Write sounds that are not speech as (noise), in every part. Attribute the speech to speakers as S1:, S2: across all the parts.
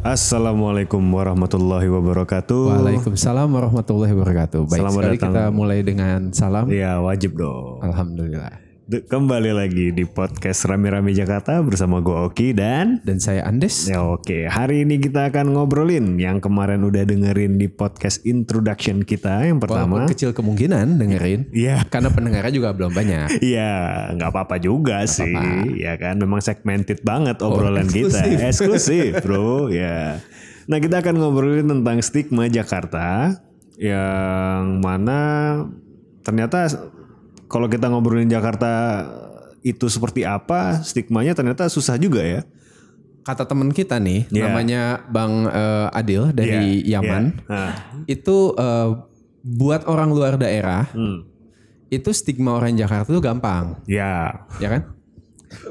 S1: Assalamualaikum warahmatullahi wabarakatuh.
S2: Waalaikumsalam warahmatullahi wabarakatuh. Baik
S1: Selamat
S2: sekali
S1: datang.
S2: kita mulai dengan salam.
S1: Iya wajib dong.
S2: Alhamdulillah.
S1: D- Kembali lagi di podcast Rame-Rame Jakarta bersama gue Oki dan
S2: Dan saya Andes.
S1: ya oke hari ini kita akan ngobrolin yang kemarin udah dengerin di podcast introduction kita yang pertama.
S2: Walaupun kecil kemungkinan dengerin.
S1: Iya.
S2: Karena pendengarnya juga belum banyak.
S1: Iya, nggak apa-apa juga sih, ya kan. Memang segmented banget obrolan kita,
S2: Oh, eksklusif. (laughs)
S1: eksklusif, bro. Ya. Nah, kita akan ngobrolin tentang stigma Jakarta, yang mana ternyata kalau kita ngobrolin Jakarta itu seperti apa, stigmanya ternyata susah juga ya.
S2: Kata teman kita nih,
S1: Iya.
S2: namanya Bang eh, Adil dari
S1: Iya,
S2: Yaman.
S1: iya. Nah,
S2: Itu eh, buat orang luar daerah,
S1: hmm.
S2: itu stigma orang Jakarta itu gampang.
S1: Ya,
S2: Ya kan?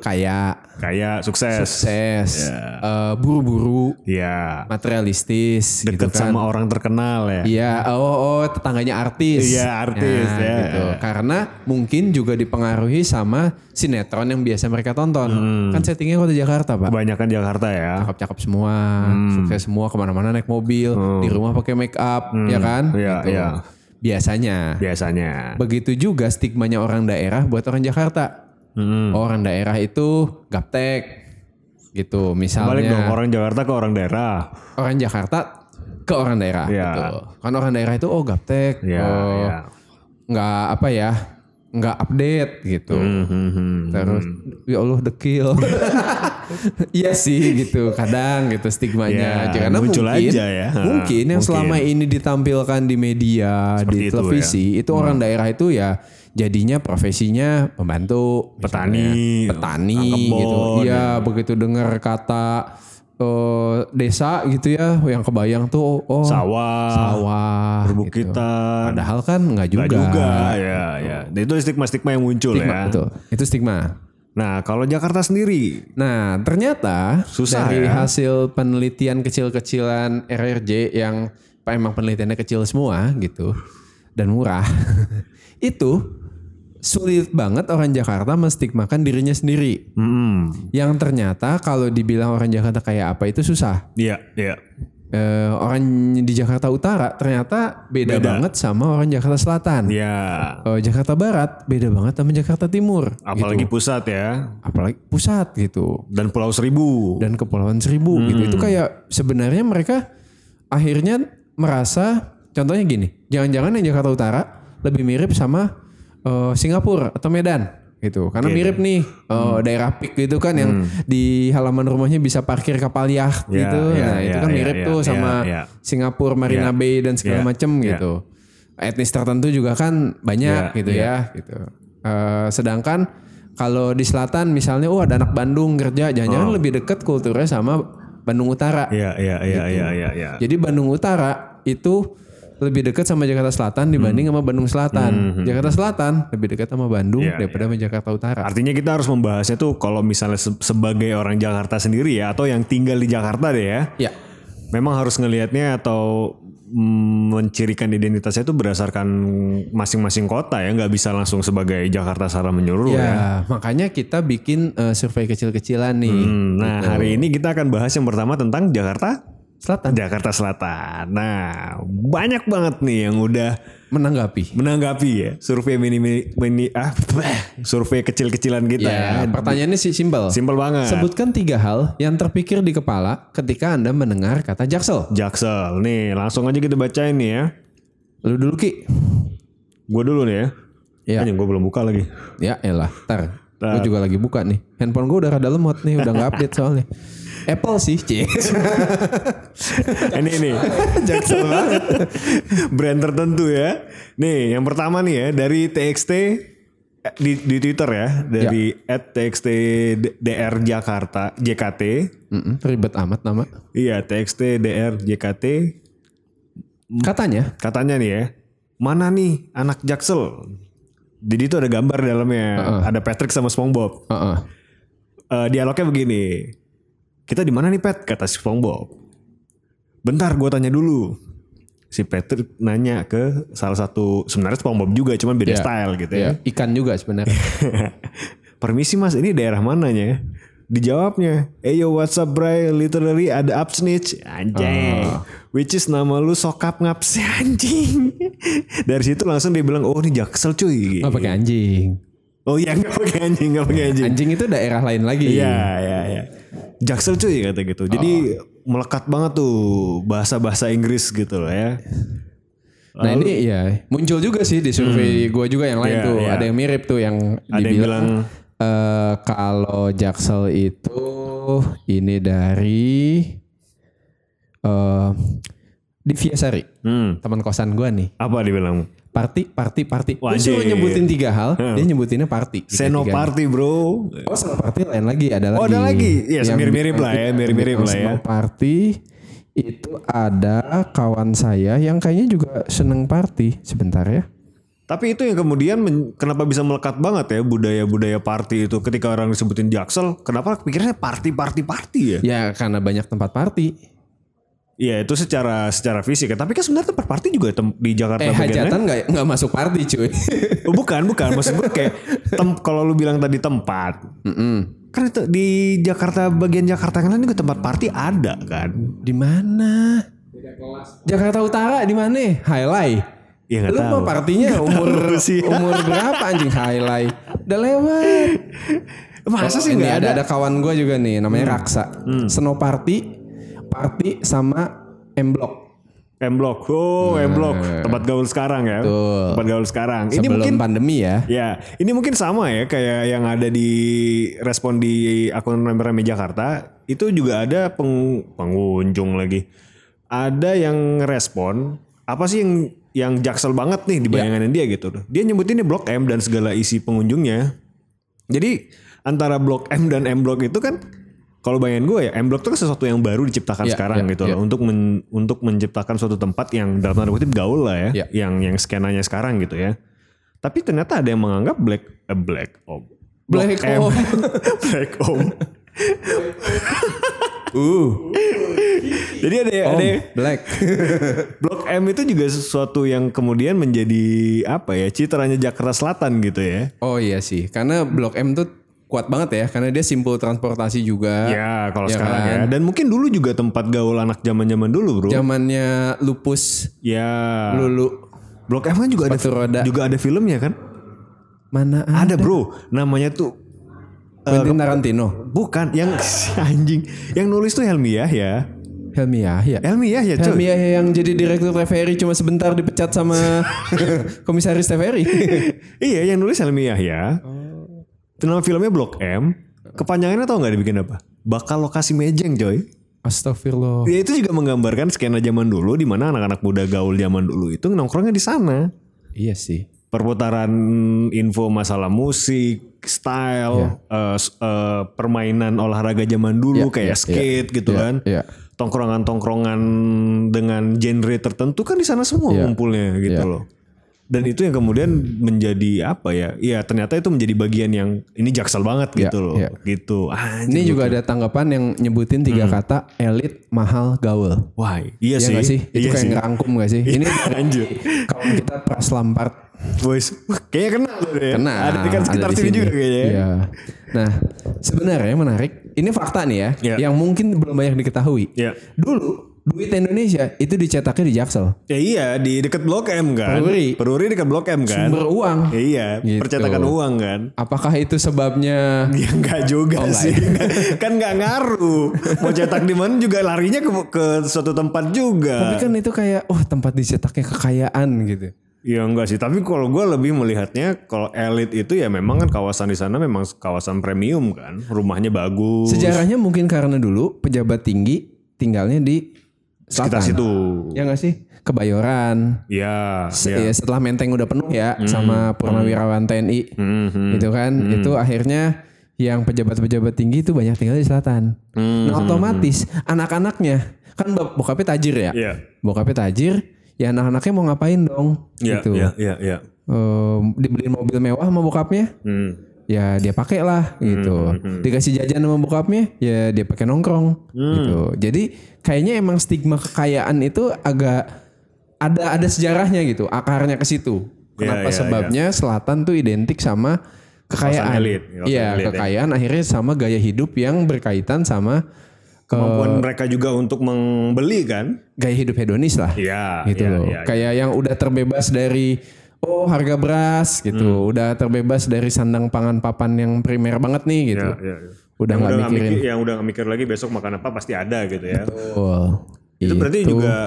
S2: Kayak
S1: kayak sukses.
S2: sukses,
S1: Iya.
S2: eh, buru-buru,
S1: Ya,
S2: materialistis. gitu
S1: deket
S2: kan.
S1: sama orang terkenal ya.
S2: Iya, oh, oh tetangganya artis.
S1: Iya, artis,
S2: Nah,
S1: ya.
S2: gitu. Karena mungkin juga dipengaruhi sama sinetron yang biasa mereka tonton.
S1: Hmm.
S2: Kan settingnya kota Jakarta, Pak.
S1: Kebanyakan Jakarta ya.
S2: Cakep-cakep semua,
S1: Hmm.
S2: sukses semua, kemana-mana naik mobil, di rumah pakai make up, ya kan?
S1: Iya,
S2: Gitu.
S1: iya.
S2: Biasanya.
S1: Biasanya.
S2: Begitu juga stigmanya orang daerah buat orang Jakarta.
S1: Hmm.
S2: Orang daerah itu gaptek,
S1: Balik dong
S2: gitu. Misalnya
S1: orang Jakarta ke orang daerah.
S2: orang Jakarta ke orang daerah
S1: Iya.
S2: gitu. Kan orang daerah itu oh gaptek,
S1: Ya,
S2: oh
S1: ya.
S2: nggak apa ya, nggak update gitu.
S1: Hmm.
S2: Terus ya Allah dekil. (laughs) iya sih gitu. Kadang gitu stigmanya.
S1: Ya,
S2: Karena
S1: muncul
S2: mungkin
S1: aja ya. Ha,
S2: mungkin yang
S1: mungkin.
S2: selama ini ditampilkan di media,
S1: Seperti
S2: di
S1: itu ya. Hmm.
S2: televisi, itu, orang daerah itu ya jadinya profesinya pembantu,
S1: Petani,
S2: misalnya. petani
S1: angkebon,
S2: gitu.
S1: ya.
S2: Iya, begitu dengar kata eh, desa gitu ya, yang kebayang tuh oh
S1: Sawah,
S2: sawah gitu.
S1: perbukitan.
S2: Padahal kan nggak juga. Gitu.
S1: Nggak juga, ya, ya. Dan itu stigma-stigma yang muncul
S2: Stigma,
S1: ya.
S2: betul. Itu stigma.
S1: Nah, kalau Jakarta sendiri,
S2: Nah, ternyata
S1: Susah
S2: dari
S1: ya.
S2: hasil penelitian kecil-kecilan RRJ yang pak emang penelitiannya kecil semua gitu dan murah. (laughs) itu sulit banget orang Jakarta menstigmakan dirinya sendiri.
S1: hmm,
S2: Yang ternyata kalau dibilang orang Jakarta kayak apa itu susah.
S1: iya, iya,
S2: Eh, orang di Jakarta Utara ternyata beda,
S1: Beda.
S2: banget sama orang Jakarta Selatan.
S1: iya.
S2: Eh, Jakarta Barat beda banget sama Jakarta Timur.
S1: Apalagi
S2: gitu.
S1: pusat ya,
S2: apalagi pusat gitu.
S1: dan Pulau Seribu. Hmm.
S2: dan kepulauan seribu gitu itu kayak sebenarnya mereka akhirnya merasa contohnya gini jangan-jangan yang Jakarta Utara lebih mirip sama eh, Singapura atau Medan gitu karena mirip nih eh,
S1: Hmm.
S2: daerah pik gitu kan yang di halaman rumahnya bisa parkir kapal yacht
S1: Ya,
S2: gitu
S1: ya,
S2: nah itu
S1: ya,
S2: kan
S1: ya,
S2: mirip
S1: ya,
S2: tuh
S1: ya,
S2: sama
S1: ya.
S2: Singapura Marina
S1: Ya,
S2: Bay dan
S1: ya,
S2: segala macem
S1: ya.
S2: gitu etnis tertentu juga kan banyak
S1: Ya,
S2: gitu ya gitu Eh, sedangkan kalau di selatan misalnya oh ada anak Bandung kerja
S1: Oh.
S2: jangan-jangan lebih dekat kulturnya sama Bandung Utara
S1: Iya, iya, iya,
S2: Gitu.
S1: iya, iya, iya.
S2: jadi Bandung Utara itu lebih dekat sama Jakarta Selatan dibanding
S1: Hmm.
S2: sama Bandung Selatan Jakarta Selatan lebih dekat sama Bandung
S1: Ya,
S2: daripada sama Jakarta Utara
S1: Artinya kita harus membahasnya tuh kalau misalnya se- sebagai orang Jakarta sendiri ya atau yang tinggal di Jakarta deh ya.
S2: ya
S1: Memang harus ngelihatnya atau mm, mencirikan identitasnya itu berdasarkan masing-masing kota ya, nggak bisa langsung sebagai Jakarta secara menyeluruh
S2: ya
S1: ya.
S2: makanya kita bikin eh, survei kecil-kecilan nih
S1: Hmm, Nah hari ini kita akan bahas yang pertama tentang Jakarta,
S2: Selatan
S1: Jakarta Selatan. Nah banyak banget nih yang udah
S2: menanggapi
S1: menanggapi ya survei mini mini, mini- ah survei kecil-kecilan kita
S2: ya,
S1: ya.
S2: pertanyaannya sih simpel
S1: Simpel banget.
S2: Sebutkan tiga hal yang terpikir di kepala ketika Anda mendengar kata jaksel.
S1: Jaksel nih langsung aja kita bacain nih ya.
S2: Lu dulu Ki.
S1: Gue dulu nih ya.
S2: Iya.
S1: Anjing gue belum buka lagi.
S2: Ya elah, tar. Gue juga lagi buka nih. Handphone gue udah rada lemot nih, udah nggak update soalnya. Apple sih, Ci.
S1: ini nih (laughs) Jaksel banget brand tertentu ya nih yang pertama nih ya dari TXT eh, di, di Twitter ya dari @txtdrjakarta JKT
S2: Mm-mm, ribet amat nama.
S1: iya txtdrjkt
S2: Katanya,
S1: katanya nih ya mana nih anak Jaksel jadi itu ada gambar di dalamnya ada Patrick sama SpongeBob
S2: heeh.
S1: Eh, dialognya begini. Kita di mana nih Pet? Kata si SpongeBob. Bentar, gue tanya dulu. Si Patrick nanya ke salah satu sebenarnya SpongeBob juga, cuman beda
S2: Iya.
S1: (laughs) style gitu ya.
S2: ya, ikan juga sebenarnya.
S1: Permisi mas, ini daerah mananya? Dijawabnya, eh yo what's up bray, literally ada up snitch. Anjing.
S2: Ah.
S1: Which is nama lu sokap ngaps (laughs) anjing. Dari situ langsung dia bilang, oh ini jaksel cuy.
S2: Nggak pakai anjing.
S1: Oh iya gak pakai anjing, gak pakai anjing.
S2: Anjing itu daerah lain lagi.
S1: Iya, iya, iya. Jaksel cuy kata gitu. Jadi melekat banget tuh bahasa-bahasa Inggris gitu loh ya.
S2: Nah ini ya muncul juga sih di survei gua juga yang lain
S1: Iya,
S2: tuh
S1: iya.
S2: ada yang mirip tuh yang
S1: Ada yang
S2: dibilang
S1: bilang-
S2: eh, kalau Jaksel itu ini dari eh di Viasari
S1: Hmm.
S2: teman kosan gua nih
S1: Apa dibilang?
S2: party party party Gua
S1: Wajib.
S2: suruh nyebutin tiga hal dia nyebutinnya party Tiga-tiga.
S1: Senoparty bro.
S2: oh senoparty lain lagi ada lagi
S1: Oh, ada lagi. Iya,
S2: Yang
S1: mirip-mirip lah ya, mirip-mirip
S2: bilang
S1: lah ya.
S2: senoparty itu ada kawan saya yang kayaknya juga seneng party sebentar ya
S1: Tapi itu yang kemudian men- kenapa bisa melekat banget ya budaya-budaya party itu ketika orang disebutin jaksel, kenapa pikirnya party party party ya?
S2: Ya karena banyak tempat party.
S1: Iya itu secara secara fisik, ya. tapi kan sebenarnya tempat party juga tem- di Jakarta
S2: Eh
S1: bagian lain.
S2: hajatan nggak nggak masuk party cuy.
S1: Oh, bukan bukan, maksud gue kayak tem- kalau lu bilang tadi tempat,
S2: Mm-mm.
S1: kan itu di Jakarta bagian Jakarta yang lain juga tempat party ada kan?
S2: Di mana? Jakarta Utara di mana? Highlight.
S1: Ya nggak
S2: Lu
S1: tahu.
S2: mau partinya umur
S1: sih.
S2: umur berapa anjing highlight? Udah lewat.
S1: Masa sih
S2: Ini
S1: nggak ada? Hmm.
S2: ada ada kawan gue juga nih namanya Raksa. Snow Party, Party sama M Block.
S1: M Block, oh M Block, tempat gaul sekarang ya, tempat gaul sekarang. Ini
S2: Sebelum
S1: mungkin
S2: pandemi ya.
S1: Ya, ini mungkin sama ya kayak yang ada di respon di akun rame-rame Jakarta itu juga ada peng- pengunjung lagi. Ada yang respon apa sih yang yang jaksel banget nih di bayangannya dia gitu loh. Dia nyebutin ini Blok M dan segala isi pengunjungnya. Jadi antara Blok M dan M Blok itu kan kalau bayangan gue ya M Blok itu kan sesuatu yang baru diciptakan
S2: Iya,
S1: sekarang
S2: iya,
S1: gitu
S2: iya.
S1: loh untuk men- untuk menciptakan suatu tempat yang dalam tanda kutip gaul lah ya,
S2: Iya.
S1: yang yang skenanya sekarang gitu ya. Tapi ternyata ada yang menganggap black eh, black om.
S2: Black Om.
S1: (laughs) black om.
S2: Uh,
S1: Jadi ada yang-
S2: Om
S1: ada ya? yang- (laughs)
S2: Black.
S1: blok M itu juga sesuatu yang kemudian menjadi apa ya citranya Jakarta Selatan gitu ya.
S2: Oh iya sih, karena Blok M tuh kuat banget ya, karena dia simpul transportasi juga.
S1: Ya kalau
S2: Ya
S1: sekarang
S2: kan?
S1: ya. Dan mungkin dulu juga tempat gaul anak zaman-zaman dulu bro.
S2: Zamannya lupus,
S1: ya.
S2: lulu,
S1: Blok M kan juga ada
S2: Sepatu roda.
S1: juga ada filmnya kan?
S2: mana ada?
S1: Ada bro. Namanya tuh
S2: Quentin Tarantino,
S1: bukan yang (laughs) si anjing yang nulis tuh ya. Helmi Yahya.
S2: Helmi Yahya.
S1: Helmi Yahya cuy.
S2: Helmi Yahya ya. yang jadi direktur TVRI cuma sebentar dipecat sama
S1: (laughs)
S2: komisaris TVRI.
S1: (laughs) iya yang nulis Helmi Yahya. Nama filmnya Blok M. Kepanjangannya tau nggak dibikin apa? Bakal lokasi mejeng coy.
S2: Oh. Astagfirullah.
S1: Ya itu juga menggambarkan skena zaman dulu di mana anak-anak muda gaul zaman dulu itu nongkrongnya di sana.
S2: Iya sih.
S1: Perputaran info masalah musik, style, eh, s- eh, permainan olahraga zaman dulu
S2: Iya,
S1: kayak
S2: iya,
S1: skate gitu
S2: Iya,
S1: kan.
S2: Iya.
S1: Tongkrongan-tongkrongan dengan genre tertentu kan di sana semua
S2: Iya,
S1: ngumpulnya gitu
S2: iya.
S1: loh. Dan itu yang kemudian menjadi apa ya? Iya ternyata itu menjadi bagian yang ini jaksel banget
S2: Iya,
S1: gitu loh.
S2: iya.
S1: Gitu. Anjing.
S2: Ini juga ada tanggapan yang nyebutin tiga kata elit, mahal, gaul.
S1: Wah, iya,
S2: Iya
S1: sih.
S2: gak sih? Itu
S1: iya
S2: kayak
S1: sih.
S2: ngerangkum gak sih? Ini
S1: (laughs) Anjir.
S2: kawan kita Pras Lampard
S1: Boys, wah, kayaknya kenal lu deh.
S2: Kena.
S1: Ada di kan sekitar
S2: di
S1: sini
S2: sini.
S1: juga kayaknya. ya.
S2: Iya. Nah, sebenarnya menarik. Ini fakta nih ya,
S1: Iya.
S2: yang mungkin belum banyak diketahui.
S1: Iya.
S2: Dulu duit Indonesia itu dicetaknya di Jaksel.
S1: Ya iya di dekat Blok M kan.
S2: Peruri.
S1: Peruri dekat Blok M kan.
S2: Beruang.
S1: Ya iya,
S2: Gitu.
S1: percetakan uang kan.
S2: Apakah itu sebabnya
S1: Ya enggak juga sih. (laughs) kan enggak ngaruh. Mau cetak di mana juga larinya ke, ke suatu tempat
S2: tapi
S1: juga.
S2: kan itu kayak wah tempat dicetaknya kekayaan gitu.
S1: Ya enggak sih, tapi kalau gue lebih melihatnya kalau elit itu ya memang kan kawasan di sana memang kawasan premium kan. Rumahnya bagus.
S2: Sejarahnya mungkin karena dulu pejabat tinggi tinggalnya di
S1: sekitar
S2: selatan.
S1: situ.
S2: Ya gak sih? Kebayoran.
S1: Ya,
S2: Se- ya, setelah menteng udah penuh ya sama purnawirawan TNI
S1: Hmm,
S2: gitu kan itu akhirnya yang pejabat-pejabat tinggi itu banyak tinggal di selatan nah otomatis anak-anaknya kan bap- bokapnya tajir ya
S1: Iya.
S2: bokapnya tajir ya anak-anaknya mau ngapain dong
S1: Iya,
S2: gitu
S1: iya, iya, iya.
S2: Ehm, dibeliin mobil mewah sama bokapnya
S1: Hmm.
S2: ya dia pakai lah gitu dikasih jajan sama bokapnya ya dia pakai nongkrong
S1: Hmm.
S2: gitu jadi kayaknya emang stigma kekayaan itu agak ada ada sejarahnya gitu akarnya ke situ
S1: Ya,
S2: kenapa
S1: ya,
S2: sebabnya selatan tuh identik sama kekayaan.
S1: Kawasan elit, kawasan
S2: Iya,
S1: elit ya.
S2: kekayaan akhirnya sama gaya hidup yang berkaitan sama
S1: Kemampuan mereka juga untuk membeli kan?
S2: gaya hidup hedonis lah.
S1: Iya,
S2: gitu
S1: iya,
S2: loh.
S1: iya,
S2: Kayak yang udah terbebas dari oh harga beras gitu,
S1: Hmm.
S2: udah terbebas dari sandang pangan papan yang primer banget nih gitu.
S1: Iya, iya, iya.
S2: Udah
S1: Yang
S2: nggak
S1: udah nggak
S2: mikirin.
S1: mikir, yang udah nggak mikir lagi besok makan apa pasti ada gitu ya.
S2: Betul.
S1: Itu
S2: Iya.
S1: berarti juga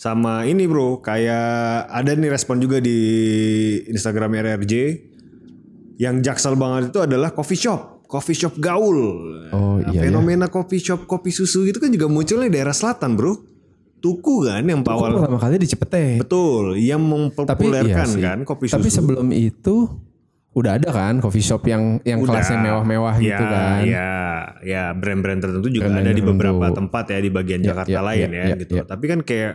S1: sama ini bro, kayak ada nih respon juga di Instagram RRJ yang jaksel banget itu adalah coffee shop, coffee shop gaul.
S2: Oh,
S1: Nah,
S2: iya,
S1: Fenomena coffee shop, kopi susu itu kan juga munculnya di daerah selatan bro. Tuku kan yang
S2: Aku
S1: awal
S2: pertama kali di Cipete.
S1: betul, yang
S2: Tapi iya
S1: mempopulerkan
S2: sih.
S1: kan kopi susu.
S2: Tapi sebelum itu udah ada kan coffee shop yang yang
S1: Udah.
S2: kelasnya mewah-mewah
S1: ya,
S2: gitu kan.
S1: Ya, ya brand-brand tertentu juga
S2: Brand-brand
S1: ada di
S2: tertentu.
S1: beberapa tempat ya di bagian
S2: Ya,
S1: Jakarta
S2: ya,
S1: lain
S2: ya,
S1: ya,
S2: ya,
S1: gitu.
S2: ya.
S1: Tapi kan kayak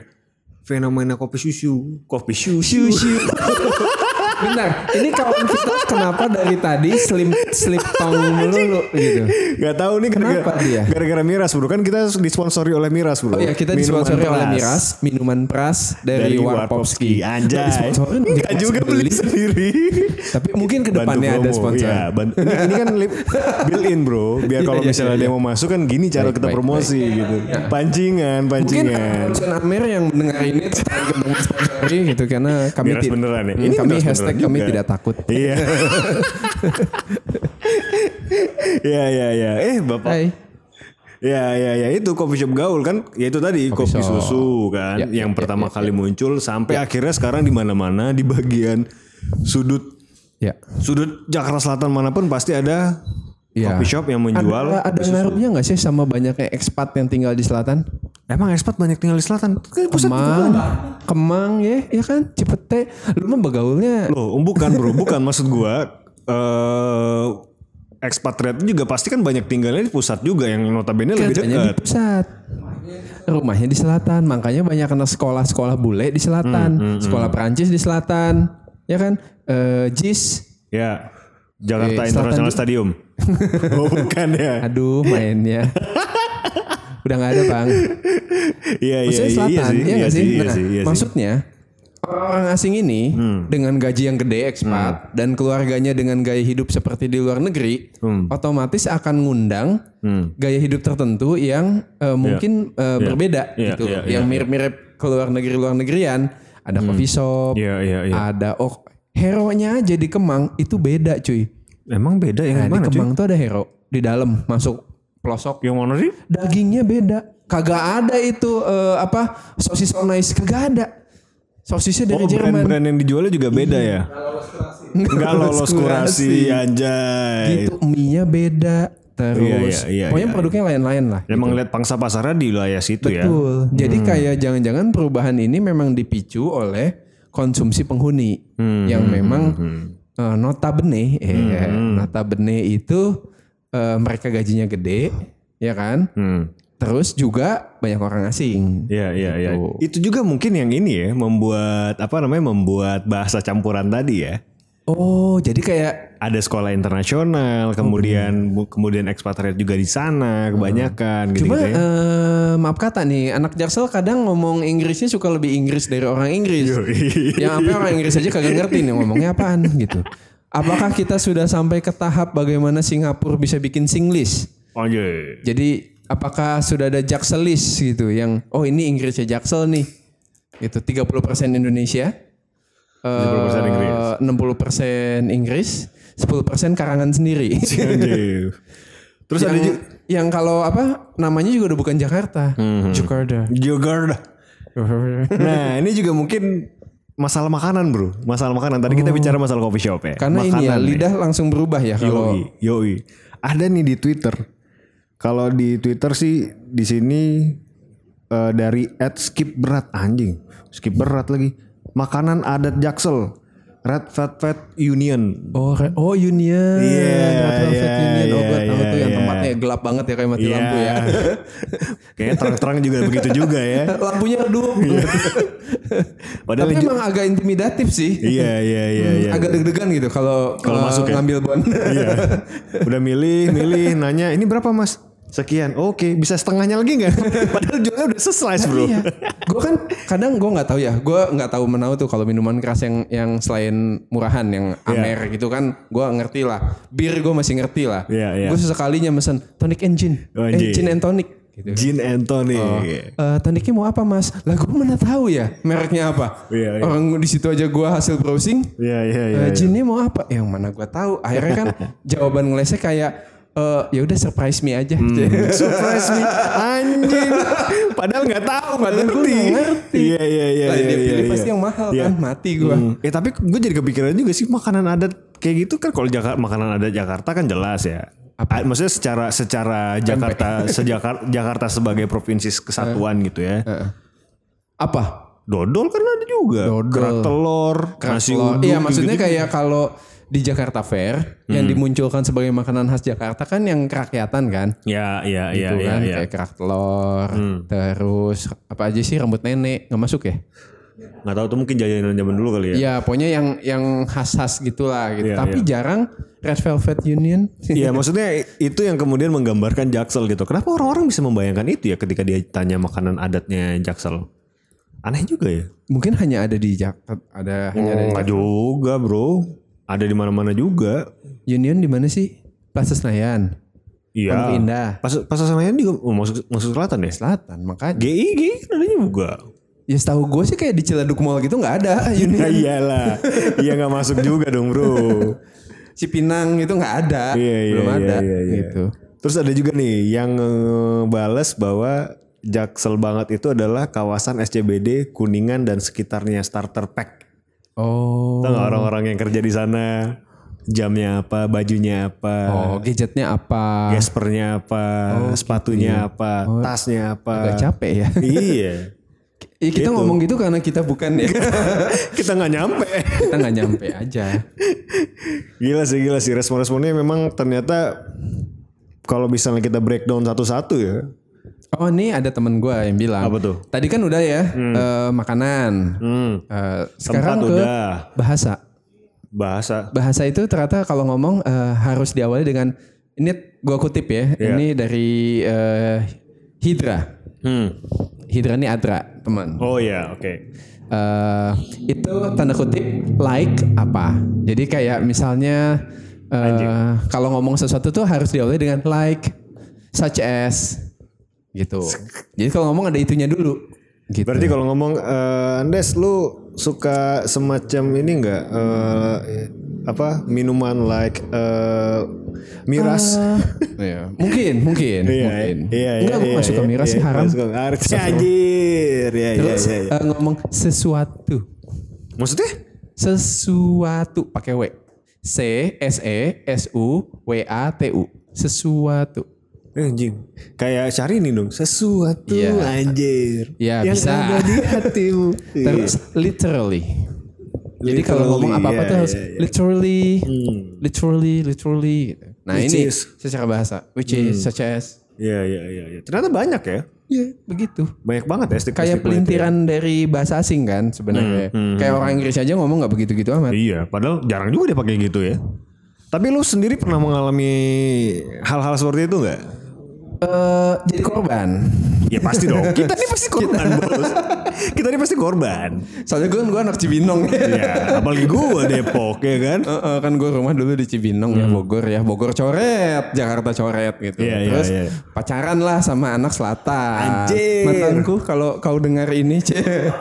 S1: fenomena kopi susu, (laughs) kopi susu.
S2: (laughs) Bentar, ini kawan kita kenapa dari tadi slim slip
S1: (laughs)
S2: tong melulu gitu.
S1: Gak tahu nih
S2: Kenapa
S1: gara-gara
S2: dia?
S1: gara-gara Miras bro kan kita disponsori oleh Miras bro.
S2: Oh iya kita
S1: Minuman
S2: disponsori oleh
S1: keras.
S2: Miras minuman peras
S1: dari
S2: dari, Warpopski.
S1: Warpopski. Anjay. (laughs)
S2: Disponsorin,
S1: Enggak
S2: dipaksa
S1: juga beli
S2: (laughs)
S1: sendiri.
S2: Tapi mungkin
S1: Bantu
S2: kedepannya ada
S1: promo,
S2: sponsor.
S1: iya, bantu- ini, ini kan lip- built in bro. Biar
S2: (laughs) Iya,
S1: kalau
S2: iya,
S1: misalnya
S2: iya,
S1: dia mau masuk kan gini cara
S2: Baik,
S1: kita
S2: baik, Iya.
S1: promosi gitu. Pancingan,
S2: Mungkin
S1: pancingan.
S2: Ronson Amir yang mendengar ini sponsori gitu karena kami
S1: Miras
S2: tid-
S1: beneran ya.
S2: Hmm,
S1: Ini
S2: kami
S1: miras
S2: hashtag
S1: beneran
S2: kami
S1: juga.
S2: tidak takut.
S1: Iya.
S2: (laughs)
S1: Iya iya iya. Eh Bapak.
S2: Hai.
S1: Ya ya ya itu coffee shop gaul kan ya itu tadi kopi,
S2: shop.
S1: susu kan
S2: Ya,
S1: yang
S2: ya,
S1: pertama
S2: ya, ya,
S1: kali muncul sampai akhirnya sekarang di mana-mana di bagian sudut
S2: Ya.
S1: sudut Jakarta Selatan manapun pasti ada
S2: Ya.
S1: coffee shop yang menjual.
S2: Ada, ada ngaruhnya nggak sih sama banyaknya ekspat yang tinggal di selatan?
S1: Emang expat banyak tinggal di selatan. Kan pusat
S2: Kemang, Kemang ya, ya kan? Cipete, lu mah begaulnya
S1: Loh, bukan bro, bukan maksud gua. eh expatriat juga pasti kan banyak tinggalnya di pusat juga yang notabene lebih
S2: kerjanya Kan, di
S1: dekat.
S2: pusat. Rumahnya di selatan, makanya banyak anak sekolah-sekolah bule di
S1: Hmm,
S2: selatan, sekolah Perancis di selatan, ya kan? Eh, JIS,
S1: Ya. Jakarta
S2: Eh,
S1: International
S2: (laughs)
S1: Stadium. oh, bukan ya.
S2: aduh
S1: (laughs)
S2: mainnya. Udah nggak ada bang.
S1: Iya iya iya,
S2: Maksudnya
S1: iya
S2: selatan,
S1: sih.
S2: ya
S1: Iya
S2: nggak
S1: sih,
S2: sih?
S1: iya
S2: Nah,
S1: sih, Hmm. iya sih.
S2: maksudnya orang asing ini dengan gaji yang gede ekspat
S1: Hmm.
S2: dan keluarganya dengan gaya hidup seperti di luar negeri,
S1: Hmm.
S2: otomatis akan ngundang gaya hidup tertentu yang eh, mungkin eh, berbeda
S1: Iya,
S2: gitu,
S1: iya,
S2: yang mirip-mirip ke luar negeri luar negerian. Ada coffee shop,
S1: Iya iya iya.
S2: ada oh hero-nya aja di Kemang itu beda cuy.
S1: Emang beda yang
S2: Nah, di
S1: mana cuy?
S2: Kemang tuh ada hero di dalam masuk pelosok
S1: Yang mana sih?
S2: dagingnya beda. Kagak ada itu eh, apa sosis on ice kagak ada. Sosisnya dari
S1: Oh,
S2: Jerman. Iya.
S1: brand-brand yang dijualnya juga beda ya. Enggak lolos kurasi, anjay.
S2: Gitu mie-nya beda. Terus
S1: Iya, iya, iya,
S2: pokoknya
S1: iya.
S2: produknya lain-lain lah. Hmm.
S1: Emang lihat pangsa pasarnya di wilayah situ ya.
S2: Betul. Jadi kayak jangan-jangan perubahan ini memang dipicu oleh konsumsi penghuni yang memang eh, notabene eh, notabene itu eh, mereka gajinya gede, ya kan?
S1: Hmm.
S2: Terus juga banyak orang asing.
S1: Iya iya iya.
S2: Gitu.
S1: Itu juga mungkin yang ini ya membuat apa namanya membuat bahasa campuran tadi ya.
S2: Oh, jadi kayak
S1: Ada sekolah internasional,
S2: Hmm.
S1: kemudian bu- kemudian ekspatriat juga di sana kebanyakan gitu,
S2: Cuma
S1: gitu ya.
S2: eh, maaf kata nih, anak Jaksel kadang ngomong Inggrisnya suka lebih Inggris dari orang Inggris.
S1: (laughs)
S2: Yang sampai orang Inggris aja kagak ngerti nih ngomongnya apaan gitu. Apakah kita sudah sampai ke tahap bagaimana Singapura bisa bikin Singlish?
S1: Anjay.
S2: Jadi apakah sudah ada Jakselis gitu yang oh ini Inggrisnya Jaksel nih. gitu, Itu 30% Indonesia. eh,
S1: 70% Inggris.
S2: 60% Inggris, 10% karangan sendiri.
S1: (laughs) Anjay. Terus
S2: yang,
S1: ada juga
S2: yang kalau apa namanya juga udah bukan Jakarta,
S1: Mhm.
S2: Jakarta.
S1: Jakarta. Nah, ini juga mungkin masalah makanan, Bro. Masalah makanan. Tadi kita bicara masalah coffee shop ya.
S2: Oh. Karena ini ya
S1: Makanan nih.
S2: lidah langsung berubah ya kalau
S1: Yoi, yoi. Ada nih di Twitter. Kalau di Twitter sih di sini eh, dari @skipberat anjing. Skip berat lagi. Makanan adat Jaksel. Red Velvet Union.
S2: oh re- oh Union,
S1: Iya,
S2: Red Velvet
S1: iya,
S2: Union. Oh,
S1: iya,
S2: gua tahu
S1: iya,
S2: tuh yang
S1: iya.
S2: tempatnya gelap banget ya kayak mati lampu
S1: (laughs)
S2: (laughs) ya.
S1: Kayaknya terang-terang juga begitu juga ya.
S2: Lampunya redup.
S1: Iya, Padahal
S2: Tapi
S1: ju-
S2: emang agak intimidatif sih.
S1: iya iya iya iya.
S2: Agak deg-degan gitu kalau
S1: Kalau
S2: eh,
S1: masuk ya?
S2: ngambil bon.
S1: Iya. Udah milih, milih, nanya ini berapa mas? Sekian. Oke, bisa setengahnya lagi nggak? (laughs) Padahal jualnya udah seslice, Bro.
S2: (laughs) Iya. Gue kan kadang gue nggak tahu ya. Gue nggak tahu menau tuh kalau minuman keras yang yang selain murahan yang
S1: Iya.
S2: amer gitu kan. Gue ngerti lah. Bir gue masih ngerti lah.
S1: Iya, iya.
S2: Gue sesekalinya mesen tonic and gin.
S1: Oh,
S2: eh,
S1: anjing.
S2: gin and tonic. Gitu.
S1: Gin and tonic.
S2: Eh, tonicnya mau apa mas? Lah gue mana tahu ya mereknya apa.
S1: Iya, iya.
S2: Orang di situ aja gue hasil browsing.
S1: Iya, iya, iya.
S2: Eh,
S1: iya.
S2: Jinnya mau apa? Yang mana gue tahu. Akhirnya
S1: (laughs)
S2: kan jawaban ngelesnya kayak eh ya udah surprise me aja. (laughs)
S1: Surprise me. Hmm. (laughs) Anjing. (laughs) Padahal nggak tahu, nggak
S2: Padahal gue
S1: ngerti.
S2: nggak ngerti.
S1: Iya, iya, iya.
S2: Lah,
S1: iya,
S2: dia
S1: iya,
S2: pilih
S1: iya.
S2: pasti yang mahal
S1: Iya.
S2: kan mati gue.
S1: Hmm. Eh tapi gue jadi kepikiran juga sih makanan adat kayak gitu kan kalau Jakarta makanan adat Jakarta kan jelas ya. Ah, Maksudnya secara secara Jakarta
S2: (laughs)
S1: sejakar- Jakarta sebagai provinsi
S2: Eh.
S1: kesatuan gitu ya.
S2: Apa?
S1: Dodol kan ada juga.
S2: Dodol.
S1: Kerak telur, nasi
S2: Kalau-
S1: uduk.
S2: Iya
S1: gitu-gitu. gitu.
S2: maksudnya
S1: Hmm.
S2: kayak kalau di Jakarta Fair yang dimunculkan sebagai makanan khas Jakarta kan yang kerakyatan kan.
S1: Ya, ya, ya,
S2: Tuh
S1: ya,
S2: kan
S1: ya.
S2: kayak kerak telur,
S1: Hmm.
S2: terus apa aja sih rambut nenek nggak masuk ya?
S1: Nggak tahu tuh mungkin jajanan zaman dulu kali ya.
S2: Iya, pokoknya yang yang khas-khas gitulah gitu.
S1: Iya,
S2: Tapi jarang Red Velvet Union. (laughs)
S1: Iya, maksudnya itu yang kemudian menggambarkan Jaksel gitu. Kenapa orang-orang bisa membayangkan itu ya ketika dia tanya makanan adatnya Jaksel? Aneh juga ya.
S2: Mungkin hanya ada di Jakarta, ada hanya ada di
S1: Enggak juga, Bro. Ada di mana-mana juga.
S2: Union di mana sih? Plaza Senayan, Pondok
S1: Iya.
S2: Indah,
S1: Pas pas Senayan juga oh, masuk masuk selatan ya?
S2: Selatan. Makanya
S1: GI GI kan ada juga.
S2: ya setahu gue sih kayak di Ciledug Mall gitu nggak ada
S1: (laughs) Ya
S2: (laughs) Union.
S1: iyalah. Iya nggak masuk juga dong, Bro.
S2: Cipinang itu nggak ada,
S1: Iya, iya,
S2: belum
S1: iya,
S2: ada
S1: iya, iya.
S2: gitu.
S1: Terus ada juga nih yang eh, balas bahwa Jaksel banget itu adalah kawasan SCBD Kuningan dan sekitarnya starter pack.
S2: Oh,
S1: Tahu nggak orang-orang yang kerja di sana jamnya apa, bajunya apa,
S2: oh gadgetnya apa?
S1: gespernya apa,
S2: Oh, gitu
S1: sepatunya apa, tasnya apa.
S2: Gak ya. Oh. capek ya?
S1: iya.
S2: Ya, kita ngomong gitu karena kita bukan
S1: (laughs)
S2: ya,
S1: Kita nggak nyampe.
S2: kita nggak nyampe aja.
S1: Gila sih, gila sih. Respon-responnya memang ternyata kalau misalnya kita breakdown satu-satu ya.
S2: Oh ini ada temen gue yang bilang.
S1: Apa tuh?
S2: Tadi kan udah ya eh, makanan.
S1: Hmm.
S2: Eh,
S1: Tempat
S2: sekarang ke
S1: udah,
S2: bahasa.
S1: bahasa.
S2: Bahasa itu ternyata kalau ngomong eh, harus diawali dengan ini gue kutip ya.
S1: Iya.
S2: Ini dari eh, Hidra.
S1: Hmm.
S2: Hidra ini Adra teman.
S1: Oh ya, oke.
S2: Eh, itu tanda kutip like apa? Jadi kayak misalnya eh, kalau ngomong sesuatu tuh harus diawali dengan like, such as gitu. Jadi kalau ngomong ada itunya dulu. Gitu.
S1: Berarti kalau ngomong eh, Andes lu suka semacam ini enggak apa minuman like eh, miras?
S2: (laughs) Iya. Mungkin, mungkin,
S1: Iya,
S2: mungkin. Enggak, gue gak suka miras sih, haram.
S1: nggak iya, suka. Haram. Anjir. Iya, iya,
S2: Terus
S1: iya, iya.
S2: eh, ngomong sesuatu,
S1: Maksudnya?
S2: sesuatu pakai w, c s e s u w a t u, sesuatu.
S1: Eh, anjing. Kayak cari ini dong. Sesuatu
S2: Iya.
S1: anjir.
S2: Iya,
S1: yang
S2: bisa.
S1: ada
S2: (laughs)
S1: di hatimu.
S2: Terus literally. Jadi
S1: Iya. Literally,
S2: kalau ngomong apa-apa
S1: iya,
S2: tuh harus
S1: iya, iya. Hmm.
S2: literally, literally, literally. gitu. Nah
S1: Which
S2: ini
S1: is- Hmm.
S2: secara bahasa, which is such as,
S1: Iya, iya, iya, iya. Ternyata banyak ya.
S2: ya begitu.
S1: Banyak banget ya stick
S2: Kayak pelintiran dari bahasa asing kan sebenarnya. Kayak orang Inggris aja ngomong nggak begitu-gitu amat.
S1: Hmm, Iya, padahal jarang juga dia pakai gitu ya. Tapi lu sendiri pernah mengalami hal-hal seperti itu nggak?
S2: eh jadi korban. (laughs)
S1: Ya pasti dong. Kita ini pasti korban, Bos. Kita ini pasti korban.
S2: Soalnya gue gue anak Cibinong. (laughs)
S1: Ya, apalagi gua Depok ya kan.
S2: Eh, eh, kan gue rumah dulu di Cibinong ya Bogor ya Bogor coret Jakarta coret
S1: Hmm.
S2: gitu
S1: Iya, iya,
S2: terus
S1: iya.
S2: pacaran lah sama anak selatan
S1: Anjir.
S2: mantanku kalau kau dengar ini (laughs) cie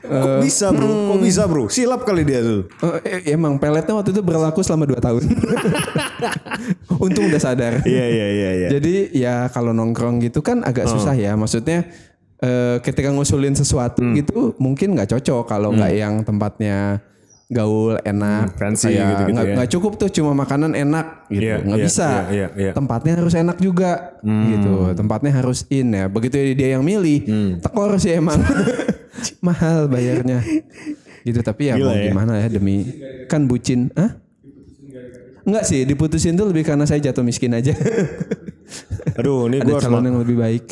S1: Kok bisa, Bro? Kok
S2: hmm.
S1: bisa, Bro? Silap kali dia tuh.
S2: Eh, eh, emang peletnya waktu itu berlaku selama 2 tahun untung udah sadar
S1: Iya, iya, iya, Oh. iya.
S2: jadi ya kalau nongkrong gitu kan agak susah ya maksudnya eh, ketika ngusulin sesuatu
S1: Hmm.
S2: gitu mungkin nggak cocok kalau nggak yang tempatnya gaul enak
S1: fancy
S2: kayak
S1: gitu-gitu
S2: nggak
S1: ya.
S2: nggak cukup tuh cuma makanan enak gitu
S1: Iya,
S2: nggak
S1: iya,
S2: bisa
S1: iya, iya, Hmm. iya.
S2: tempatnya harus enak juga gitu tempatnya harus in ya begitu dia yang milih
S1: Hmm.
S2: tekor sih
S1: (laughs)
S2: emang mahal bayarnya gitu tapi ya
S1: Gila
S2: mau
S1: ya.
S2: gimana ya demi kan bucin ah Enggak sih, diputusin tuh lebih karena saya jatuh miskin aja. (laughs)
S1: Aduh, ini
S2: Ada
S1: gua harus
S2: calon yang lebih baik.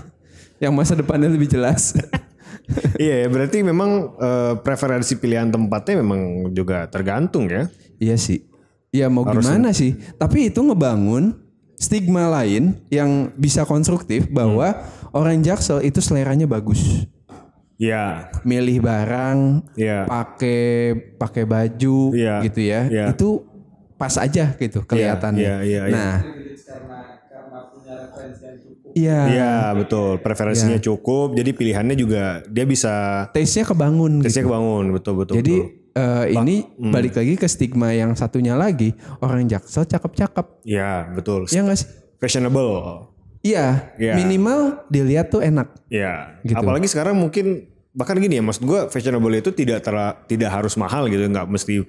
S2: (laughs) yang masa depannya lebih
S1: (laughs)
S2: jelas.
S1: Iya, berarti memang eh, preferensi pilihan tempatnya memang juga tergantung ya.
S2: iya sih. Ya mau gimana sih? Tapi itu ngebangun stigma lain yang bisa konstruktif
S1: Hmm.
S2: bahwa orang Jaksel itu seleranya bagus.
S1: Ya,
S2: Milih barang,
S1: ya,
S2: pakai pakai baju
S1: Iya.
S2: gitu ya.
S1: Iya.
S2: Itu pas aja gitu kelihatannya.
S1: iya, iya, iya.
S2: nah, Iya.
S1: ya betul. Preferensinya cukup, jadi pilihannya juga dia bisa
S2: Taste-nya kebangun gitu.
S1: tesnya kebangun, betul betul.
S2: Jadi
S1: betul.
S2: eh, ini
S1: hmm.
S2: balik lagi ke stigma yang satunya lagi orang Jaksel cakep-cakep.
S1: ya betul.
S2: Ya nggak sih?
S1: Fashionable.
S2: Iya,
S1: Iya.
S2: minimal dilihat tuh enak.
S1: Ya,
S2: Gitu.
S1: apalagi sekarang mungkin bahkan gini ya, maksud gue fashionable itu tidak tera- tidak harus mahal gitu, nggak mesti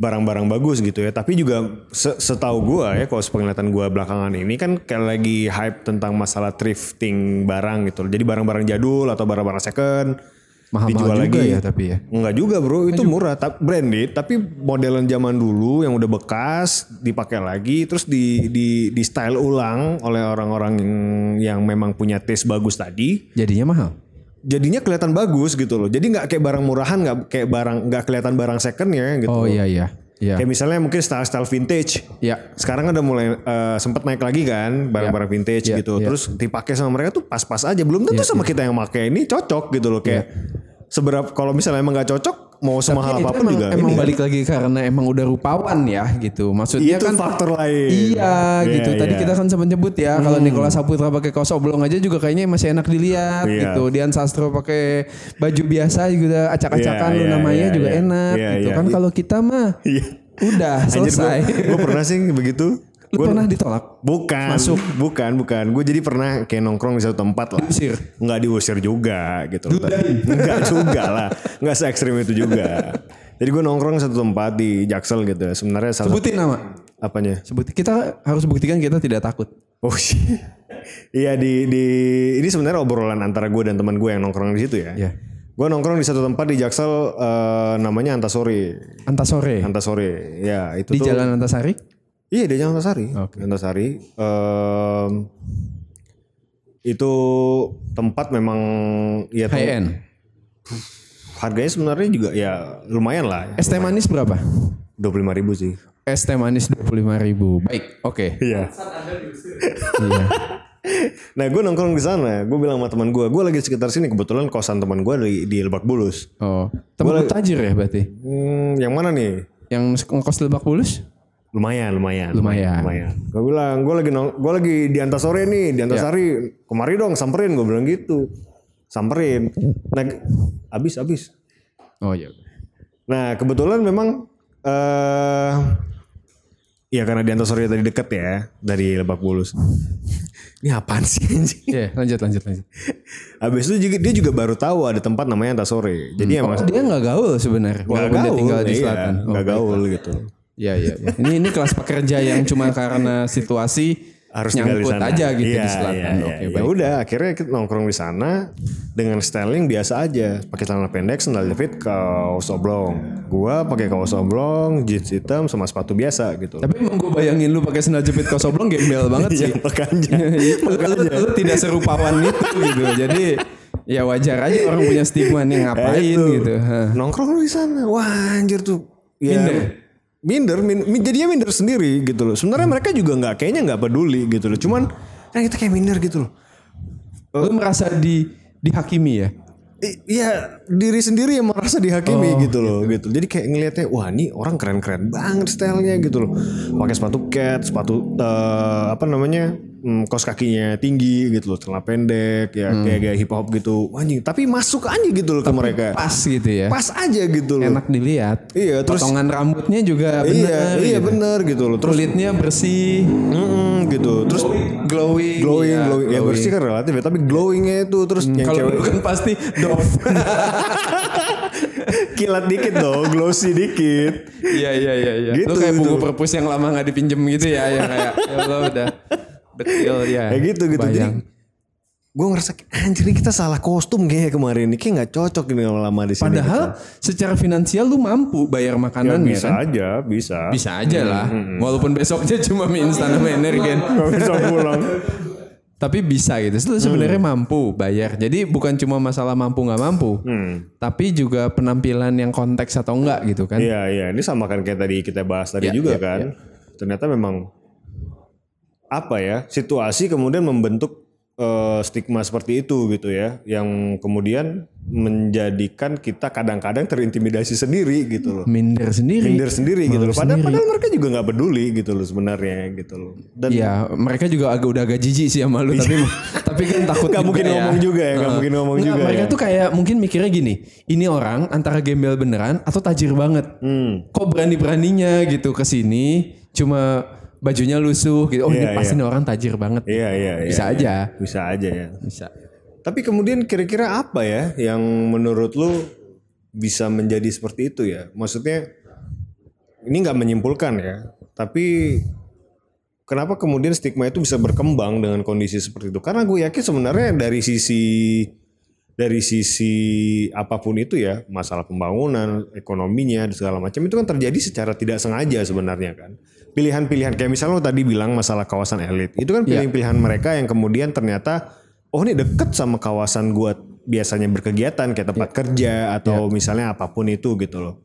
S1: barang-barang bagus gitu ya. Tapi juga se- setahu gue ya, kalau sepenglihatan gue belakangan ini kan kayak lagi hype tentang masalah thrifting barang gitu. Jadi barang-barang jadul atau barang-barang second
S2: Mahal-mahal
S1: dijual
S2: juga
S1: lagi.
S2: ya tapi ya.
S1: Enggak juga bro, itu murah, tapi branded, tapi modelan zaman dulu yang udah bekas dipakai lagi, terus di di di style ulang oleh orang-orang yang, yang memang punya taste bagus tadi
S2: Jadinya mahal.
S1: jadinya kelihatan bagus gitu loh. Jadi nggak kayak barang murahan, nggak kayak barang nggak kelihatan barang second ya gitu.
S2: Oh iya iya. Iya.
S1: Kayak misalnya mungkin style-style vintage.
S2: Iya.
S1: Sekarang kan udah mulai eh, sempet naik lagi kan barang-barang vintage
S2: Ya,
S1: gitu.
S2: ya.
S1: Terus dipakai sama mereka tuh pas-pas aja. Belum
S2: Iya,
S1: tentu sama kita yang pakai ini cocok gitu loh kayak seberapa kalau misalnya emang nggak cocok mau semahal
S2: Tapi Iya, itu
S1: apapun
S2: emang,
S1: juga. Iya.
S2: emang
S1: ini
S2: balik lagi karena emang udah rupawan ya gitu. Maksudnya
S1: itu
S2: kan
S1: faktor lain.
S2: Iya
S1: Iya,
S2: gitu. Tadi
S1: iya. Hmm.
S2: kita kan sempat nyebut ya kalau Nicola Saputra pakai kaos oblong aja juga kayaknya masih enak dilihat
S1: Iya.
S2: gitu. Dian Sastro pakai baju biasa juga acak-acakan
S1: Iya,
S2: lu
S1: iya,
S2: namanya
S1: iya,
S2: juga
S1: iya.
S2: enak
S1: Iya,
S2: gitu
S1: iya.
S2: kan. Kalau kita mah
S1: Iya.
S2: udah selesai.
S1: Gue pernah sih begitu.
S2: (laughs) Lu
S1: Gua-
S2: pernah ditolak?
S1: Bukan,
S2: Masuk.
S1: bukan, bukan. Gue jadi pernah kayak nongkrong di satu tempat lah.
S2: Diusir?
S1: Nggak diusir juga gitu. loh. Nggak juga lah. Nggak se ekstrim itu juga. jadi gue nongkrong di satu tempat di Jaksel gitu. ya. Sebenarnya salah satu-
S2: Sebutin nama.
S1: apanya?
S2: Sebut kita harus buktikan kita tidak takut.
S1: Oh shit. Iya di di ini sebenarnya obrolan antara gue dan teman gue yang nongkrong di situ ya.
S2: Iya.
S1: Gue nongkrong di satu tempat di Jaksel eh, namanya Antasori.
S2: Antasore
S1: Antasori. Ya, itu
S2: di
S1: tuh
S2: Jalan Antasari.
S1: Iya dia Jalan Antasari.
S2: Oke.
S1: Antasari. Em, itu tempat memang ya tuh-
S2: High end.
S1: harganya sebenarnya juga ya lumayan lah.
S2: Es teh manis berapa?
S1: Dua puluh ribu sih.
S2: Es teh manis 25.000. Baik, oke.
S1: Iya.
S2: Iya.
S1: Nah gue nongkrong di sana, gue bilang sama teman gue, gue lagi sekitar sini kebetulan kosan teman gue di, di Lebak Bulus.
S2: Oh, temen lu tajir ya berarti?
S1: Hmm, yang mana nih?
S2: Yang ngekos di Lebak Bulus?
S1: Lumayan, lumayan,
S2: Lumayan.
S1: lumayan. Gue bilang, gue lagi nong, gue lagi di Antasore nih, di Antasari.
S2: Ya.
S1: Kemari dong, samperin. Gue bilang gitu, samperin. Nah, abis, abis.
S2: Oh iya.
S1: Nah kebetulan memang eh ya karena di Antasari tadi deket ya dari Lebak Bulus. (laughs) Ini apaan sih anjing?
S2: Iya, lanjut lanjut lanjut.
S1: Habis itu juga, dia juga baru tahu ada tempat namanya Antasari. Jadi emang
S2: Dia nggak gaul sebenarnya,
S1: nggak
S2: Hmm. Oh, walaupun dia
S1: gaul,
S2: tinggal di
S1: iya,
S2: selatan. Oh,
S1: nggak gaul gitu.
S2: Iya iya. iya. Ini ini kelas pekerja yang cuma karena situasi
S1: Harus tinggal di
S2: nyangkut
S1: sana.
S2: aja gitu
S1: Iya,
S2: di selatan.
S1: iya, iya.
S2: Oke,
S1: Ya
S2: baik.
S1: udah, akhirnya kita nongkrong di sana dengan styling biasa aja, pakai celana pendek, sandal jepit, kaos oblong. Gua pakai kaos oblong, jeans hitam sama sepatu biasa gitu.
S2: Tapi emang gue bayangin lu pakai sandal jepit kaos oblong gembel banget sih.
S1: (laughs) Iya, makanya.
S2: (laughs) Lu- lu, lu tidak serupawan itu gitu. Jadi ya wajar aja orang punya stigma nih ngapain
S1: Nah, Itu.
S2: gitu. Hah.
S1: Nongkrong lu di sana. Wah, anjir tuh. Ya,
S2: Minder.
S1: Minder, min- min- jadinya minder sendiri gitu loh. Sebenarnya
S2: Hmm.
S1: mereka juga nggak kayaknya nggak peduli gitu loh. Cuman kan kita kayak minder gitu loh.
S2: Lu merasa di dihakimi ya?
S1: I- Iya diri sendiri yang merasa dihakimi gitu loh gitu. Jadi kayak ngelihatnya wah ini orang keren-keren banget stylenya gitu loh. Pakai sepatu cat, sepatu eh, apa namanya mm, kaos kakinya tinggi gitu loh, celana pendek ya kayak gaya hip hop gitu. Wah, Anjing tapi masuk aja gitu loh ke mereka. Pas,
S2: Pas gitu ya.
S1: aja gitu loh.
S2: Enak dilihat.
S1: Iya, terus-
S2: potongan rambutnya
S1: iya
S2: juga benar.
S1: iya
S2: gitu.
S1: bener gitu loh. Terus
S2: Kulitnya bersih,
S1: mm, gitu. Terus
S2: glowing.
S1: glowing,
S2: iya,
S1: glowing. Ya bersih kan relatif ya, tapi glowingnya itu terus yang
S2: Kalau
S1: cewek
S2: dulu kan pasti doff.
S1: (laughs) kilat dikit dong, glossy dikit.
S2: Iya iya iya iya.
S1: Gitu,
S2: Lu kayak buku
S1: gitu.
S2: perpus yang lama nggak dipinjem gitu ya yang kayak ya Allah udah dekil ya.
S1: Kayak gitu gitu. Jadi
S2: Bayang.
S1: gue ngerasa anjir ini kita salah kostum kayaknya kemarin ini kayak nggak cocok ini lama-lama di sini. Gitu.
S2: Padahal secara finansial lu mampu
S1: Ya,
S2: bayar makanan ya,
S1: bisa Hmm,
S2: kan?
S1: aja, bisa.
S2: Bisa aja lah. Walaupun besoknya cuma mie instan sama
S1: (laughs)
S2: energen.
S1: Nggak bisa pulang.
S2: Tapi bisa gitu. Lu sebenarnya
S1: Hmm.
S2: mampu bayar. Jadi bukan cuma masalah mampu nggak mampu.
S1: Hmm.
S2: Tapi juga penampilan yang konteks atau enggak gitu kan.
S1: Iya, iya. Ini sama kan kayak tadi kita bahas tadi
S2: Iya,
S1: juga
S2: iya,
S1: kan. Ternyata memang apa ya situasi kemudian membentuk eh, stigma seperti itu gitu ya yang kemudian menjadikan kita kadang-kadang terintimidasi sendiri gitu loh
S2: minder sendiri
S1: minder sendiri gitu loh padahal, padahal mereka juga nggak peduli gitu loh sebenarnya gitu loh dan
S2: Iya, mereka juga agak udah agak jijik sih sama lu tapi (laughs) tapi kan takut
S1: Iya. Nggak
S2: juga
S1: mungkin ngomong juga ya, nggak
S2: Heeh.
S1: mungkin ngomong
S2: Nggak,
S1: juga
S2: Mereka
S1: ya.
S2: tuh kayak mungkin mikirnya gini, ini orang antara gembel beneran atau tajir banget.
S1: Hmm.
S2: Kok berani-beraninya gitu ke sini cuma bajunya lusuh gitu. Oh,
S1: Iya,
S2: ini pasti nih orang tajir banget.
S1: iya iya iya,
S2: Bisa
S1: iya.
S2: aja.
S1: bisa aja ya
S2: Bisa.
S1: Tapi kemudian kira-kira apa ya yang menurut lu bisa menjadi seperti itu ya? Maksudnya ini nggak menyimpulkan ya, tapi kenapa kemudian stigma itu bisa berkembang dengan kondisi seperti itu? Karena gue yakin sebenarnya dari sisi dari sisi apapun itu ya masalah pembangunan ekonominya dan segala macam itu kan terjadi secara tidak sengaja sebenarnya kan pilihan-pilihan kayak misalnya lo tadi bilang masalah kawasan elit itu kan pilihan-pilihan mereka yang kemudian ternyata oh ini deket sama kawasan gua biasanya berkegiatan kayak tempat kerja atau misalnya apapun itu gitu loh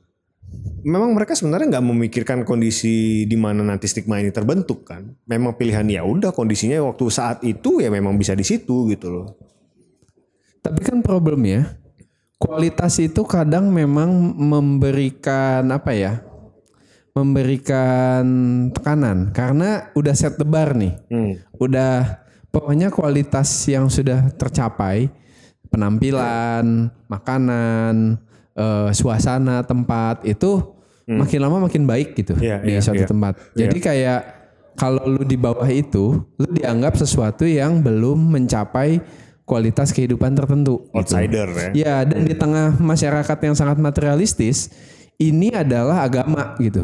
S1: memang mereka sebenarnya nggak memikirkan kondisi di mana nanti stigma ini terbentuk kan. Memang pilihan ya udah kondisinya waktu saat itu ya memang bisa di situ gitu loh.
S2: Tapi kan problemnya kualitas itu kadang memang memberikan apa ya? Memberikan tekanan karena udah set the bar nih. Udah pokoknya kualitas yang sudah tercapai penampilan, makanan, eh, suasana tempat itu makin lama makin baik gitu
S1: Hmm. Iya,
S2: di
S1: iya,
S2: suatu
S1: iya.
S2: tempat. Jadi kayak kalau lu di bawah itu, lu dianggap sesuatu yang belum mencapai kualitas kehidupan tertentu. gitu.
S1: Outsider ya.
S2: Ya, dan di tengah masyarakat yang sangat materialistis, ini adalah agama gitu.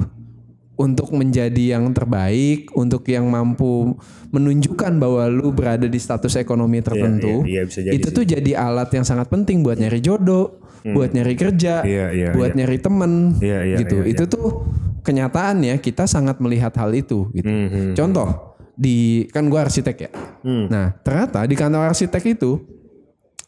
S2: Untuk menjadi yang terbaik, untuk yang mampu menunjukkan bahwa lu berada di status ekonomi tertentu.
S1: iya, iya, bisa jadi
S2: itu tuh jadi alat yang sangat penting buat nyari jodoh, buat nyari kerja,
S1: Hmm. Iya, iya,
S2: buat nyari temen
S1: Iya, iya,
S2: gitu.
S1: iya,
S2: itu tuh kenyataannya kita sangat melihat hal itu gitu.
S1: Hmm,
S2: Contoh di kan gua arsitek ya. Nah, ternyata di kantor arsitek itu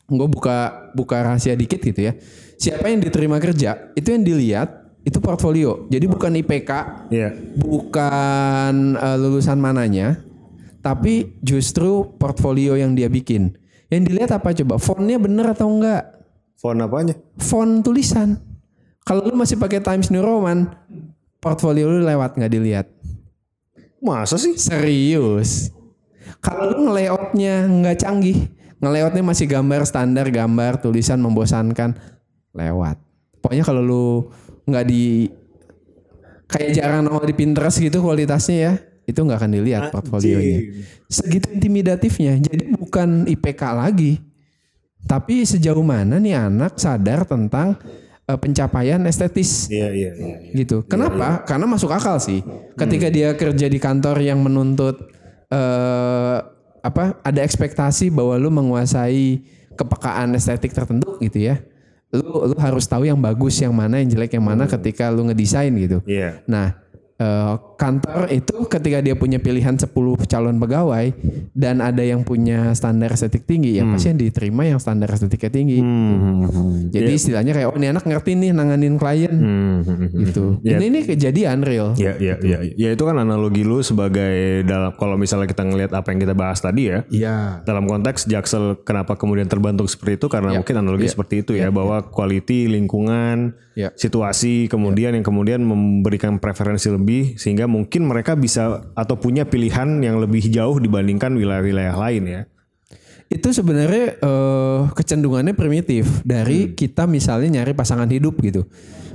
S2: gue buka buka rahasia dikit gitu ya. Siapa yang diterima kerja itu yang dilihat itu portfolio. Jadi bukan IPK,
S1: Iya.
S2: bukan eh, lulusan mananya, tapi justru portfolio yang dia bikin. Yang dilihat apa coba? Fontnya bener atau enggak?
S1: Font apanya?
S2: Font tulisan. Kalau lu masih pakai Times New Roman, portfolio lu lewat nggak dilihat.
S1: Masa sih?
S2: Serius. Kalau lu ngelayoutnya nggak canggih, ngelayoutnya masih gambar standar, gambar tulisan membosankan, lewat. Pokoknya kalau lu nggak di kayak jarang nongol di Pinterest gitu kualitasnya ya, itu nggak akan dilihat portfolionya. Segitu intimidatifnya. Jadi bukan IPK lagi, tapi sejauh mana nih anak sadar tentang eh, pencapaian estetis
S1: Iya iya iya.
S2: gitu. Kenapa? Karena masuk akal sih. Ketika dia kerja di kantor yang menuntut eh apa? Ada ekspektasi bahwa lu menguasai kepekaan estetik tertentu gitu ya. Lu lu harus tahu yang bagus, yang mana, yang jelek, yang mana ketika lu ngedesain gitu.
S1: Iya.
S2: Nah, eh, kantor itu ketika dia punya pilihan 10 calon pegawai dan ada yang punya standar estetik tinggi, ya pasti yang diterima yang standar estetiknya tinggi.
S1: Hmm.
S2: Jadi istilahnya kayak oh ini anak ngerti nih nanganin klien gitu. Ini ini kejadian real.
S1: Hmm. Iya iya iya. Ya itu kan analogi lu sebagai dalam kalau misalnya kita ngelihat apa yang kita bahas tadi ya.
S2: Iya.
S1: Dalam konteks Jaksel kenapa kemudian terbentuk seperti itu karena mungkin analogi seperti itu ya bahwa quality lingkungan
S2: Ya.
S1: situasi kemudian yang kemudian memberikan preferensi lebih sehingga mungkin mereka bisa atau punya pilihan yang lebih jauh dibandingkan wilayah-wilayah lain ya.
S2: Itu sebenarnya eh, kecenderungannya primitif
S1: Hmm.
S2: dari kita misalnya nyari pasangan hidup gitu.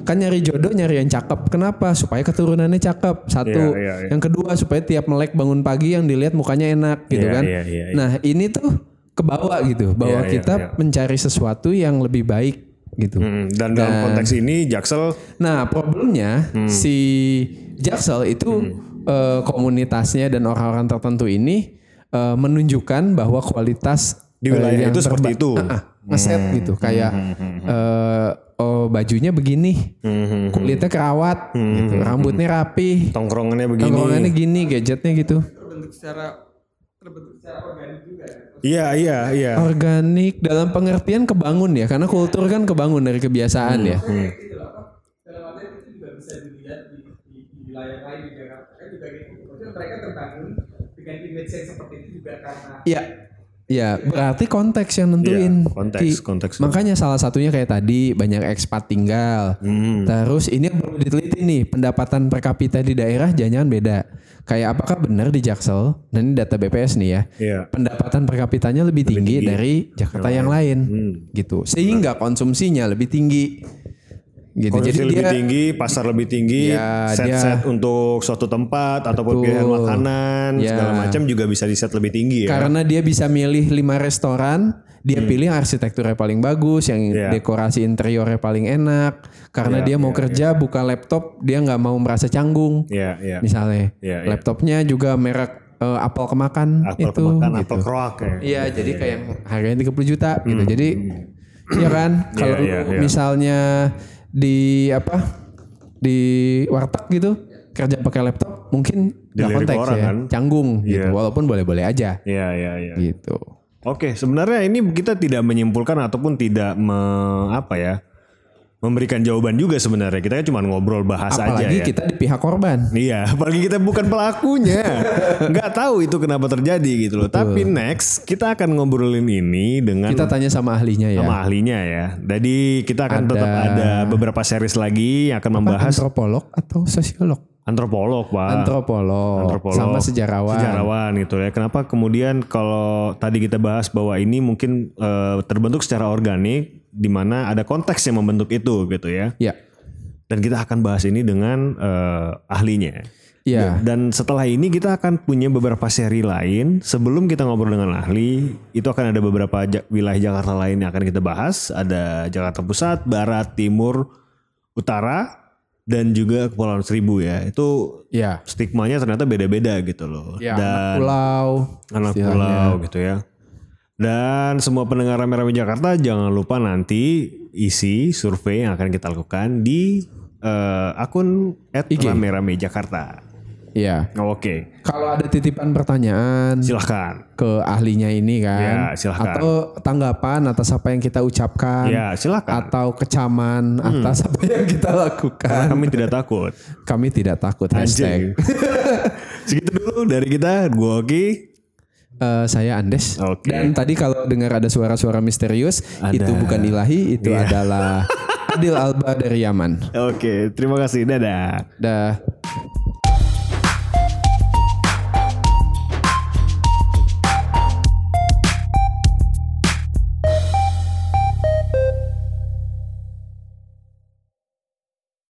S2: Kan nyari jodoh nyari yang cakep. Kenapa? Supaya keturunannya cakep.
S1: Iya,
S2: Satu.
S1: iya, iya.
S2: Yang kedua supaya tiap melek bangun pagi yang dilihat mukanya enak gitu
S1: Iya,
S2: kan.
S1: iya, iya, iya.
S2: Nah, ini tuh kebawa gitu bahwa
S1: Iya, iya,
S2: kita
S1: iya.
S2: mencari sesuatu yang lebih baik gitu.
S1: Hmm, Dan dalam konteks ini Jaksel
S2: Nah, problemnya
S1: Hmm.
S2: si Jaksel itu eh, komunitasnya dan orang-orang tertentu ini eh, menunjukkan bahwa kualitas
S1: Di
S2: eh,
S1: wilayah
S2: yang
S1: itu seperti
S2: terba-
S1: itu.
S2: Ah, ah, ngeset gitu kayak eh, oh bajunya begini,
S1: Hmm.
S2: kulitnya kerawat, gitu, rambutnya rapi,
S1: tongkrongannya begini.
S2: tongkrongannya gini, gadgetnya gitu.
S1: Iya iya iya.
S2: Oh. Organik dalam pengertian kebangun ya, karena kultur kan kebangun dari kebiasaan
S1: Hmm.
S2: ya.
S3: di wilayah lain di Jakarta kan juga gitu. Maksudnya mereka terbangun di dengan image yang seperti itu juga karena
S2: Iya. Ya, berarti konteks yang nentuin.
S1: Iya, konteks,
S2: Ki.
S1: konteks.
S2: Makanya salah satunya kayak tadi banyak ekspat tinggal.
S1: Hmm.
S2: Terus ini yang perlu diteliti nih, pendapatan per kapita di daerah jangan beda. Kayak apakah benar di Jaksel? Dan ini data BPS nih ya.
S1: Iya.
S2: Pendapatan per kapitanya lebih
S1: tinggi.
S2: tinggi,
S1: Hmm.
S2: dari Jakarta yang, lain. Gitu. Sehingga konsumsinya lebih tinggi. Gitu.
S1: Konsumsi
S2: Jadi
S1: lebih
S2: dia
S1: tinggi, pasar lebih tinggi,
S2: Iya,
S1: set-set untuk suatu tempat ataupun
S2: Betul.
S1: pilihan makanan
S2: Iya.
S1: segala macam juga bisa di set lebih tinggi ya. Hmm.
S2: Karena dia bisa milih lima restoran, dia pilih arsitekturnya paling bagus, yang
S1: Iya.
S2: dekorasi interiornya paling enak. Karena
S1: Iya,
S2: dia mau
S1: iya,
S2: kerja buka laptop, dia nggak mau merasa canggung.
S1: Iya, iya.
S2: Misalnya,
S1: Iya, iya.
S2: laptopnya juga merek eh, apel kemakan
S1: Apel
S2: itu.
S1: kemakan,
S2: gitu.
S1: apel keroak ya.
S2: Iya, jadi kayak harganya 30 juta gitu. Jadi iya kan kalau
S1: Hmm. Iya,
S2: lu
S1: iya, iya.
S2: misalnya di apa di warteg gitu kerja pakai laptop mungkin nggak
S1: Dilirik
S2: konteks
S1: orang
S2: ya,
S1: kan.
S2: canggung gitu.
S1: Iya.
S2: Walaupun boleh-boleh aja
S1: Iya, iya, iya.
S2: gitu.
S1: Oke, sebenarnya ini kita tidak menyimpulkan ataupun tidak me- apa ya memberikan jawaban juga sebenarnya. Kita kan cuma ngobrol bahas
S2: Apalagi
S1: aja ya.
S2: kita di pihak korban.
S1: Iya, (laughs) apalagi kita bukan
S2: (laughs)
S1: pelakunya. Nggak tahu itu kenapa terjadi gitu loh. Tapi next kita akan ngobrolin ini dengan
S2: Kita tanya sama ahlinya ya.
S1: Hmm. sama ahlinya ya. Jadi kita akan
S2: Ada-
S1: tetap ada beberapa series lagi yang akan membahas
S2: Antropolog atau sosiolog?
S1: antropolog, Pak.
S2: antropolog,
S1: Ah. antropolog
S2: sama sejarawan.
S1: sejarawan gitu ya kenapa kemudian kalau tadi kita bahas bahwa ini mungkin eh, terbentuk secara organik di mana ada konteks yang membentuk itu gitu ya
S2: Ya.
S1: dan kita akan bahas ini dengan eh, ahlinya
S2: Iya.
S1: dan setelah ini kita akan punya beberapa seri lain sebelum kita ngobrol dengan ahli itu akan ada beberapa ja- wilayah Jakarta lain yang akan kita bahas ada Jakarta Pusat Barat Timur Utara dan juga Kepulauan Seribu ya itu
S2: Ya.
S1: stigmanya ternyata beda-beda gitu loh.
S2: Ya,
S1: Dan
S2: anak pulau.
S1: anak
S2: istilahnya.
S1: pulau gitu ya. Dan semua pendengar rame-rame Jakarta jangan lupa nanti isi survei yang akan kita lakukan di eh, akun
S2: IG.
S1: @rame-rame Jakarta.
S2: Iya.
S1: Oke,
S2: Kalau ada titipan pertanyaan
S1: silahkan.
S2: ke ahlinya ini kan
S1: Ya, silakan.
S2: atau tanggapan atas apa yang kita ucapkan
S1: Ya, silakan.
S2: atau kecaman
S1: Hmm.
S2: atas apa yang kita lakukan.
S1: Kami tidak takut.
S2: Kami tidak takut hashtag. (laughs)
S1: Anjing. Segitu dulu dari kita, gua Oki.
S2: Eh, saya Andes.
S1: Oke.
S2: Dan tadi kalau dengar ada suara-suara misterius, itu bukan
S1: Iya. (laughs)
S2: ilahi, itu adalah Adil Alba dari Yaman.
S1: Oke, terima kasih. Dadah.
S2: Dah.